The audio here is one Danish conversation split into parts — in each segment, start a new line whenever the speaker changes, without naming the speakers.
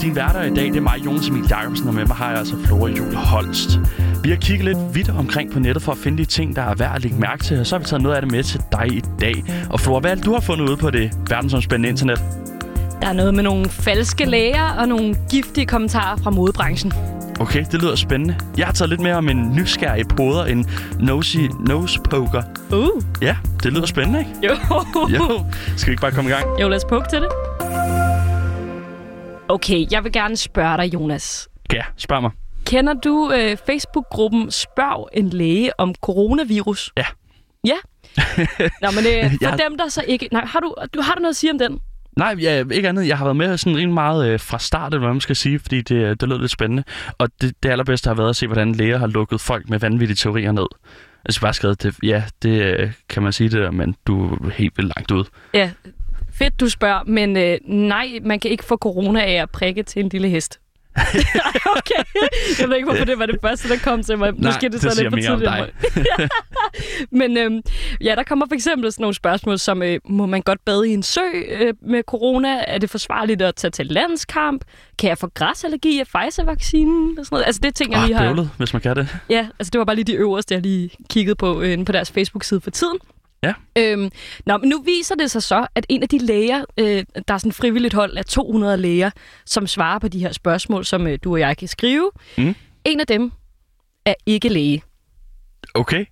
Dine værter i dag, det er mig, Jonas Emil Jacobsen, og med mig har jeg altså Flora Jul Holst. Vi har kigget lidt vidt omkring på nettet for at finde de ting, der er værd at lægge mærke til, og så har vi taget noget af det med til dig i dag. Og Flora, hvad er det, du har fundet ude på det verdensomspændende internet?
Der er noget med nogle falske læger og nogle giftige kommentarer fra modebranchen.
Okay, det lyder spændende. Jeg har taget lidt mere om en nysgerrig poder, en nosy nose poker.
Uh,
Ja, det lyder spændende, ikke?
jo.
Jo, skal vi ikke bare komme i gang?
jo, lad os pukke til det. Okay, jeg vil gerne spørge dig, Jonas.
Ja, spørg mig.
Kender du øh, Facebook-gruppen Spørg en læge om coronavirus?
Ja.
Ja? Nå, men øh, for
Jeg-
dem, der så ikke... Nej, har du, du, har du noget at sige om den?
Nej, ja, ikke andet. Jeg har været med sådan rimelig meget øh, fra starten, hvad man skal sige, fordi det, øh, det lød lidt spændende. Og det, det allerbedste har været at se, hvordan læger har lukket folk med vanvittige teorier ned. Altså bare skrevet, det, ja, det øh, kan man sige det der, men du er helt vildt langt ud.
Ja, fedt, du spørger, men øh, nej, man kan ikke få corona af at prikke til en lille hest. okay, jeg ved ikke, hvorfor det var det første, der kom til mig.
Nej,
Måske det,
det
så
siger
lidt for
mere om
tidligt. men øhm, ja, der kommer for eksempel sådan nogle spørgsmål som, øh, må man godt bade i en sø øh, med corona? Er det forsvarligt at tage til landskamp? Kan jeg få græsallergi af Pfizer-vaccinen? Og sådan noget. Altså det er ting, jeg
Ah,
lige har...
bøvlet, hvis man kan det.
Ja, altså det var bare lige de øverste, jeg lige kiggede på øh, inde på deres Facebook-side for tiden.
Ja.
Øhm, nå, men nu viser det sig så, at en af de læger, øh, der er sådan et frivilligt hold af 200 læger, som svarer på de her spørgsmål, som øh, du og jeg kan skrive,
Mm.
en af dem er ikke læge.
Okay.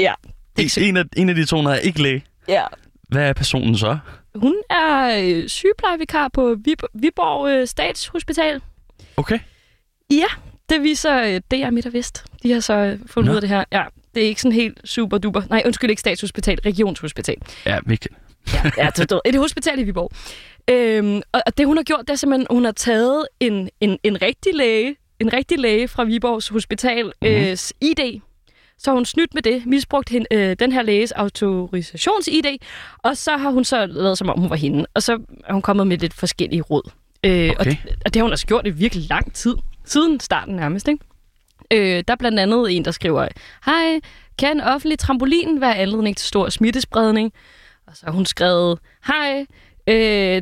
Ja.
En, en, af, en af de 200 er ikke læge.
ja.
Hvad er personen så?
Hun er øh, sygeplejevikar på Vib- Viborg øh, Statshospital.
Okay.
Ja, det viser øh, DR Midt og Vest. De har så øh, fundet
Nå.
ud af det her. Ja, det er ikke sådan helt super duper. Nej, undskyld, ikke Statshospital, Regionshospital.
Ja, vigtigt.
ja, du ved, et hospital i Viborg. Øhm, og, og det, hun har gjort, det er simpelthen, hun har taget en, en, en rigtig læge, en rigtig læge fra Viborgs Hospital mm-hmm. øh, s- ID. Så har hun snydt med det, misbrugt hende, øh, den her læges autorisations-ID, og så har hun så lavet, som om hun var hende. Og så er hun kommet med lidt forskellige råd. Øh, og,
Okay.
det, og det har hun altså gjort i virkelig lang tid, siden starten nærmest, ikke? Øh, der er blandt andet en, der skriver, Hej, kan offentlig trampolin være anledning til stor smittespredning? Og så har hun skrevet, hej, øh,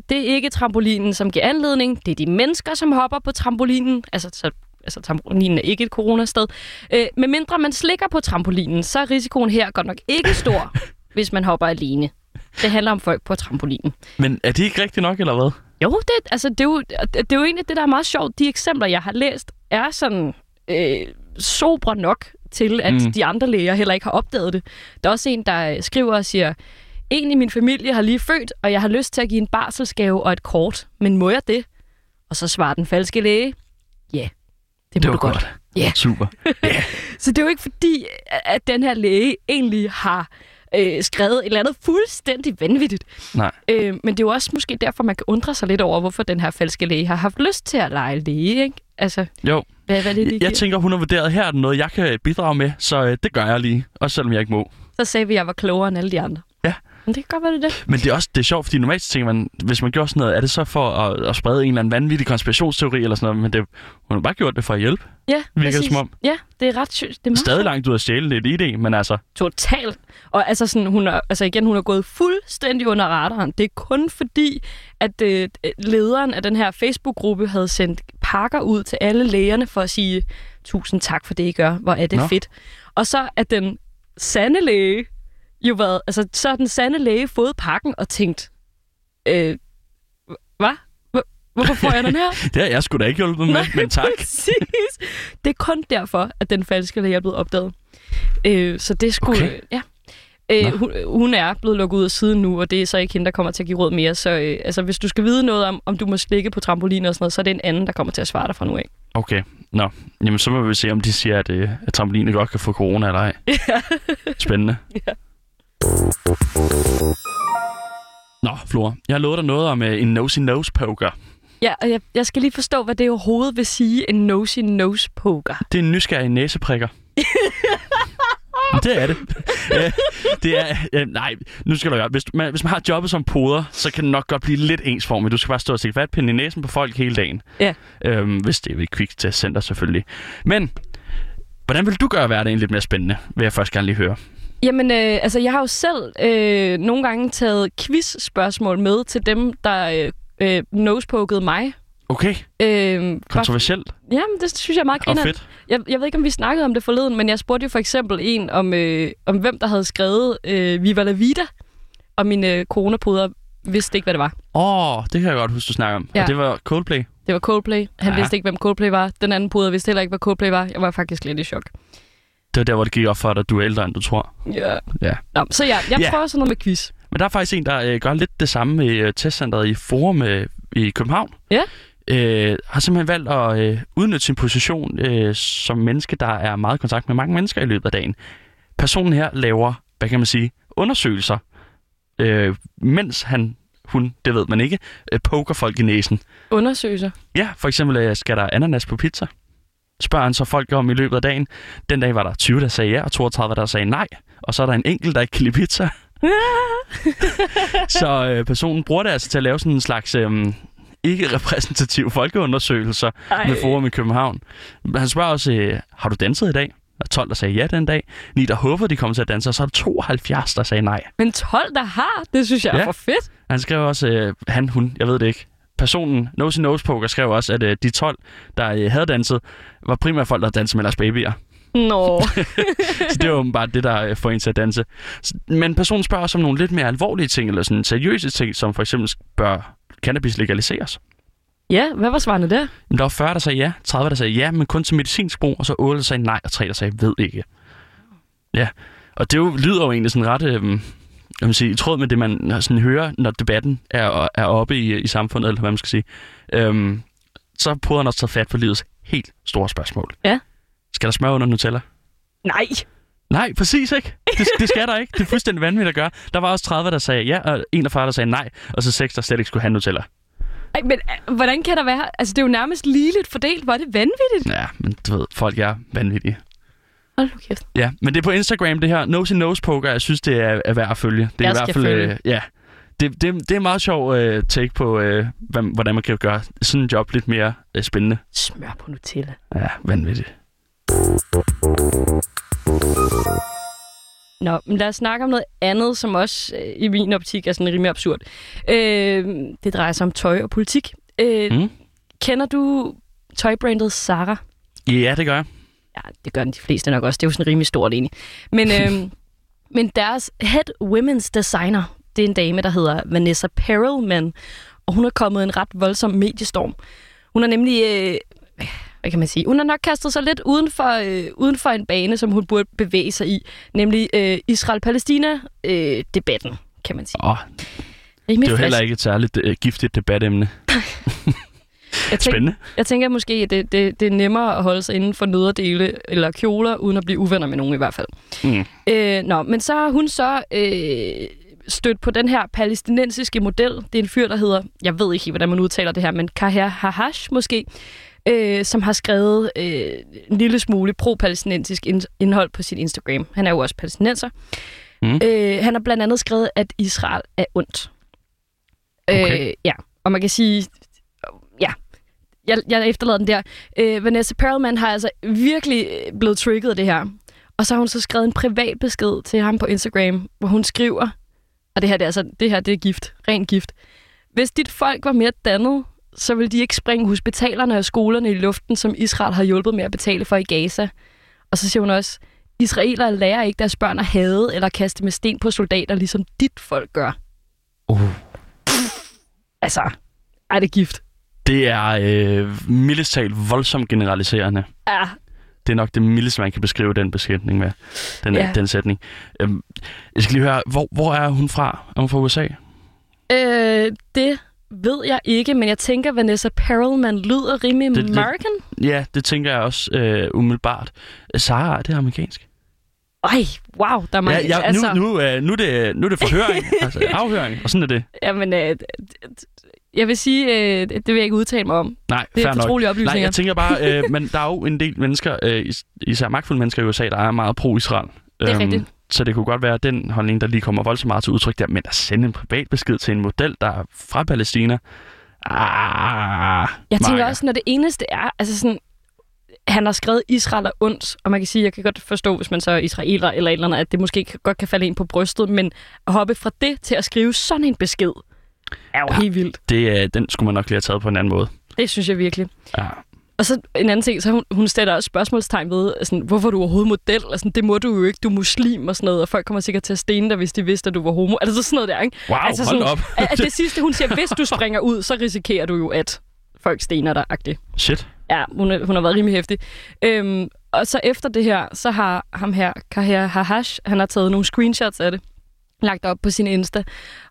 det er ikke trampolinen, som giver anledning. Det er de mennesker, som hopper på trampolinen. Altså, så, altså trampolinen er ikke et coronasted. Øh, med mindre man slikker på trampolinen, så er risikoen her godt nok ikke stor, hvis man hopper alene. Det handler om folk på trampolinen.
Men er det ikke rigtigt nok, eller hvad?
Jo, det, altså, det, er jo, det er jo egentlig det, der er meget sjovt. De eksempler, jeg har læst, er sådan øh, sobre nok til, at
Mm.
mm. de andre læger heller ikke har opdaget det. Der er også en, der øh, skriver og siger, en i min familie har lige født, og jeg har lyst til at give en barselsgave og et kort, men må jeg det? Og så svarer den falske læge, ja, yeah, det må
Det
du
var
godt.
godt.
Ja.
Super.
Så det er jo ikke fordi, at den her læge egentlig har øh, skrevet et eller andet fuldstændig vanvittigt.
Nej.
Øh, men det er jo også måske derfor, man kan undre sig lidt over, hvorfor den her falske læge har haft lyst til at lege læge, ikke? Altså,
Jo.
hvad, hvad er det, de
Jeg, jeg
giver?
tænker, hun har vurderet, her er der noget, jeg kan bidrage med, så øh, det gør jeg lige. Også selvom jeg ikke må.
Så sagde vi, at jeg var klogere end alle de andre.
Ja.
Men det kan godt være, det er det.
Men det er også det er sjovt, fordi normalt så tænker man, hvis man gjorde sådan noget, er det så for at, at sprede en eller anden vanvittig konspirationsteori eller sådan noget, men det, hun har bare gjort det for at hjælpe.
Ja,
Virker det
præcis.
som om?
Ja, det er ret sygt. Det er meget
Stadig
sjovt.
langt ud af stjæle, det er et idé, men altså,
Totalt. Og altså, sådan, hun er, altså igen, hun er gået fuldstændig under radaren. Det er kun fordi, at øh, lederen af den her Facebook-gruppe havde sendt pakker ud til alle lægerne for at sige, tusind tak for det, I gør. Hvor er det
Nå.
Nå. fedt. Og så er den sande læge jo været, altså så har den sande læge fået pakken og tænkt, øh, hvad? Hvorfor får jeg den her?
det har jeg sgu da ikke hjulpet med, men tak.
Præcis. Det er kun derfor, at den falske læge er blevet opdaget. Øh, så det skulle...
Okay.
Okay. Ja. Øh,
Nå.
hun, hun er blevet lukket ud af siden nu, og det er så ikke hende, der kommer til at give råd mere. Så øh, altså, hvis du skal vide noget om, om du må slikke på trampoliner og sådan noget, så er det en anden, der kommer til at svare dig fra nu af.
Okay, nå. Jamen, så må vi se, om de siger, at, øh, at trampoliner godt kan få corona eller ej. Spændende.
Ja.
Nå, Flora, jeg har lovet dig noget om øh, en nosy-nose poker.
Ja, og jeg, jeg skal lige forstå, hvad det overhovedet vil sige, en nosy-nose poker.
Det er en nysgerrig næseprikker. Men det er det. Øh, det er... Øh, nej, nu skal du høre. Hvis, man, hvis man har jobbet som poder, så kan det nok godt blive lidt ensformigt. Du skal bare stå og stikke vatpinde i næsen på folk hele dagen.
Ja.
Øhm, hvis det er ved et kviktestcenter selvfølgelig. Men hvordan vil du gøre hverdagen lidt mere spændende, vil jeg først gerne lige høre.
Jamen, øh, altså, jeg har jo selv øh, nogle gange taget quiz-spørgsmål med til dem, der øh, øh, nosepokede mig.
Okay,
Øh,
kontroversielt
jamen, det synes jeg er meget
og
griner.
fedt.
Jeg, jeg ved ikke, om vi snakkede om det forleden, men jeg spurgte jo for eksempel en om, øh, om hvem der havde skrevet øh, Viva la Vida, og mine øh, coronapuder vidste ikke, hvad det var.
Åh, oh, det kan jeg godt huske, du snakker om. Ja.
Ja.
Og det var Coldplay.
Det var Coldplay. Han
Ja.
ja. vidste ikke, hvem Coldplay var. Den anden puder vidste heller ikke, hvad Coldplay var. Jeg var faktisk lidt i chok.
Det var der, hvor det gik op for dig, at du er ældre, end du tror.
Ja.
Ja.
Nå, så ja, jeg
Ja.
yeah. prøver sådan noget med quiz.
Men der er faktisk en, der øh, gør lidt det samme med øh, testcenteret i Forum øh, i København.
Ja.
Øh, har simpelthen valgt at øh, udnytte sin position øh, som menneske, der er meget i kontakt med mange mennesker i løbet af dagen. Personen her laver, hvad kan man sige, undersøgelser, øh, mens han, hun, det ved man ikke, øh, poker folk i næsen.
Undersøgelser.
Ja, for eksempel øh, skal der ananas på pizza. Spørger han så folk om i løbet af dagen. Den dag var der 20, der sagde ja, og 32, der sagde nej. Og så er der en enkelt, der ikke kan lide pizza. så øh, personen bruger det altså til at lave sådan en slags øh, ikke-repræsentativ folkeundersøgelser Ej. med Forum i København. Han spørger også, øh, har du danset i dag? Og 12, der sagde ja den dag. 9, der håber, de kommer til at danse, og så er der 72, der sagde nej.
Men 12, der har, det synes jeg er
Ja.
for fedt.
Han skrev også, øh, han, hun, jeg ved det ikke. Personen, Nosey Nose Poker, skrev også, at øh, de 12, der øh, havde danset, var primært folk, der dansede med deres babyer.
Nå,
Så det var åbenbart det, der øh, får en til at danse. S- Men personen spørger også om nogle lidt mere alvorlige ting, eller sådan seriøse ting, som for eksempel bør cannabis legaliseres.
ja, hvad var svarene der?
Men der var 40, der sagde ja, 30, der sagde ja, men kun til medicinsk brug, og så 8, der sagde nej, og 3, der sagde ved ikke. Ja, og det jo, lyder jo egentlig sådan ret... Øh, jeg vil sige, i tråd med det, man sådan hører, når debatten er, er oppe i, i samfundet, eller hvad man skal sige, øhm, så prøver han også at tage fat på livets helt store spørgsmål.
Ja.
Skal der smør under Nutella?
Nej,
Nej, præcis ikke. Det, det skal der ikke. Det er fuldstændig vanvittigt at gøre. Der var også 30, der sagde ja, og 41, der sagde nej, og så 6, der slet ikke skulle have Nutella.
Ej, men øh, hvordan kan der være? Altså, det er jo nærmest ligeligt fordelt. Hvor er det vanvittigt?
Ja, men du ved, folk er vanvittige.
Hold nu kæft.
Ja, men det er på Instagram, det her. Nose in Nose Poker, jeg synes, det er, er værd at følge. Det er
Jeg
i
skal
hvert fald,
følge.
Øh, ja. Det, det, det er en meget sjov øh, take på, øh, hvad, hvordan man kan gøre sådan en job lidt mere øh, spændende.
Smør på Nutella.
Ja, vanvittigt.
Nå, men lad os snakke om noget andet, som også øh, i min optik er sådan rimelig absurd. Øh, det drejer sig om tøj og politik. Øh,
Mm.
mm. Kender du tøjbrandet Zara?
Ja, det gør jeg.
Ja, det gør de fleste nok også. Det er jo sådan rimelig stort egentlig. Men, øh, men deres head women's designer, det er en dame, der hedder Vanessa Perelman. Og hun er kommet i en ret voldsom mediestorm. Hun er nemlig... Øh, hvad kan man sige? Hun har nok kastet sig lidt uden for, øh, uden for en bane, som hun burde bevæge sig i. Nemlig øh, Israel-Palæstina-debatten, kan man sige.
Åh,
Rimelig
det er jo
frisk.
heller ikke et særligt øh, giftigt debatemne.
jeg tænker,
Spændende.
jeg tænker måske, at det, det, det er nemmere at holde sig inden for nederdele eller kjoler, uden at blive uvenner med nogen i hvert fald.
Mm.
Øh, nå, men så har hun så øh, stødt på den her palæstinensiske model. Det er en fyr, der hedder, jeg ved ikke helt, hvordan man udtaler det her, men Kaher Hahash måske, øh, som har skrevet øh, en lille smule pro-palæstinensisk ind- indhold på sin Instagram. Han er jo også palæstinenser.
Mm.
Mm. Øh, han har blandt andet skrevet, at Israel er ondt.
Okay.
Øh, ja, og man kan sige, ja, jeg, jeg efterlader den der. Øh, Vanessa Perelman har altså virkelig øh, blevet trigget af det her. Og så har hun så skrevet en privat besked til ham på Instagram, hvor hun skriver, og det her, det er, altså, det her det er gift, ren gift. Hvis dit folk var mere dannet, så ville de ikke springe hospitalerne og skolerne i luften, som Israel har hjulpet med at betale for i Gaza. Og så siger hun også, israelere lærer ikke deres børn at hade eller kaste med sten på soldater, ligesom dit folk gør.
Uh.
Altså, er det er gift?
Det er øh, mildest talt voldsomt generaliserende.
Ja,
Det er nok det mildeste, man kan beskrive den besætning med. Den, ja.
Ja.
den sætning. Øhm, jeg skal lige høre, hvor, hvor er hun fra? Er hun fra USA?
Øh, det ved jeg ikke, men jeg tænker, Vanessa Perelman lyder rimelig
Det er lidt-
American.
Ja, det tænker jeg også øh, umiddelbart. Sara, er det amerikansk?
Ej, wow, der er mange.
ja, jeg,
altså,
nu, nu, øh, nu, er det, nu er det forhøring, altså afhøring, og sådan er det.
Jamen, øh, d- d- jeg vil sige, øh, det vil jeg ikke udtale mig om.
Nej,
Det er
fair nok.
fortrolige
Nej,
oplysninger.
jeg tænker bare, øh, men der er jo en del mennesker, øh, is- især magtfulde mennesker i USA, der er meget pro-Israel. Øhm,
er rigtigt.
Så det kunne godt være den holdning, der lige kommer voldsomt meget til udtryk der, men at sende en privat besked til en model, der er fra Palæstina, ah,
Jeg tænker
Marker.
også, når det eneste er, altså sådan, han har skrevet Israel er ondt, og man kan sige, jeg kan godt forstå, hvis man så er israeler eller et eller andet, at det måske kan- godt kan falde ind på brystet, men at hoppe fra det til at skrive sådan en besked, er jo ja. helt vildt.
det, øh, den skulle man nok lige have taget på en anden måde. Ah,
Det synes jeg virkelig.
Ja.
Og så en anden ting, så hun, hun stiller også spørgsmålstegn ved, sådan, hvorfor er du overhovedet model, og sådan, det må du jo ikke, du er muslim og sådan noget, og folk kommer sikkert til at stene dig, hvis de vidste, at du var homo. Altså sådan noget der, ikke?
Wow,
altså,
altså, hold
sådan,
op.
At, at det sidste, hun siger, hvis du springer ud, så risikerer du jo, at folk stener dig, agtigt.
Shit.
Ja, hun, er- hun har været rimelig hæftig. Øhm, og så efter det her, så har ham her, Kahir Hahash, han har taget nogle screenshots af det, lagt op på sin Insta.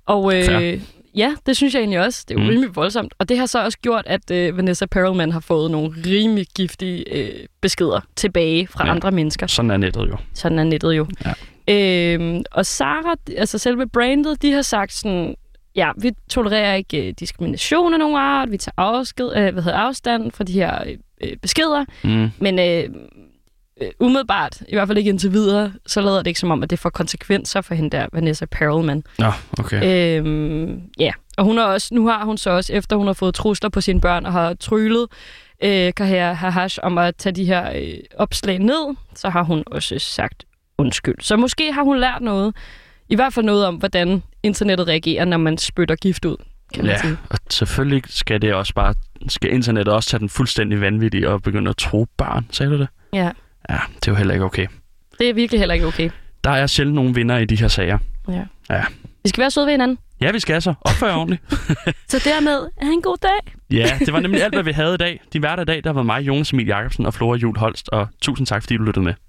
Og
Fair.
øh, ja, det synes jeg egentlig også. Det er jo
Mm.
mm. rimelig voldsomt. Og det har så også gjort, at øh, Vanessa Perelman har fået nogle rimelig giftige øh, beskeder tilbage fra
Ja.
ja. andre mennesker.
Sådan er nettet jo.
Sådan er nettet jo.
Ja.
Øhm, og Sara, altså selve brandet, de har sagt sådan, ja, vi tolererer ikke øh, diskrimination af nogen art, vi tager afsked, øh, hvad hedder, afstand fra de her øh, øh, beskeder,
Mm.
men øh, øh, umiddelbart, i hvert fald ikke indtil videre, så lader det ikke som om, at det får konsekvenser for hende der, Vanessa Perelman.
Nå, okay.
Ja. Øhm, ja. Og hun har også, nu har hun så også, efter hun har fået trusler på sine børn og har tryllet øh, Kahir Hahash om at tage de her øh, opslag ned, så har hun også sagt undskyld. Så måske har hun lært noget, i hvert fald noget om, hvordan internettet reagerer, når man spytter gift ud, kan man
Ja,
sige.
og selvfølgelig skal det også bare, skal internettet også tage den fuldstændig vanvittige og begynde at tro børn, sagde du det?
Ja,
Ja, det er jo heller ikke okay.
det er virkelig heller ikke okay.
Der er sjældent nogen vinder i de her sager.
Ja.
Ja.
Vi skal være søde ved hinanden.
Ja, vi skal så. Opfør jer ordentligt.
Så dermed, have en god dag.
Ja, det var nemlig alt, hvad vi havde i dag. De hverdag i dag, der var mig, Jonas Emil Jacobsen og Flora Jul Holst, og tusind tak, fordi du lyttede med.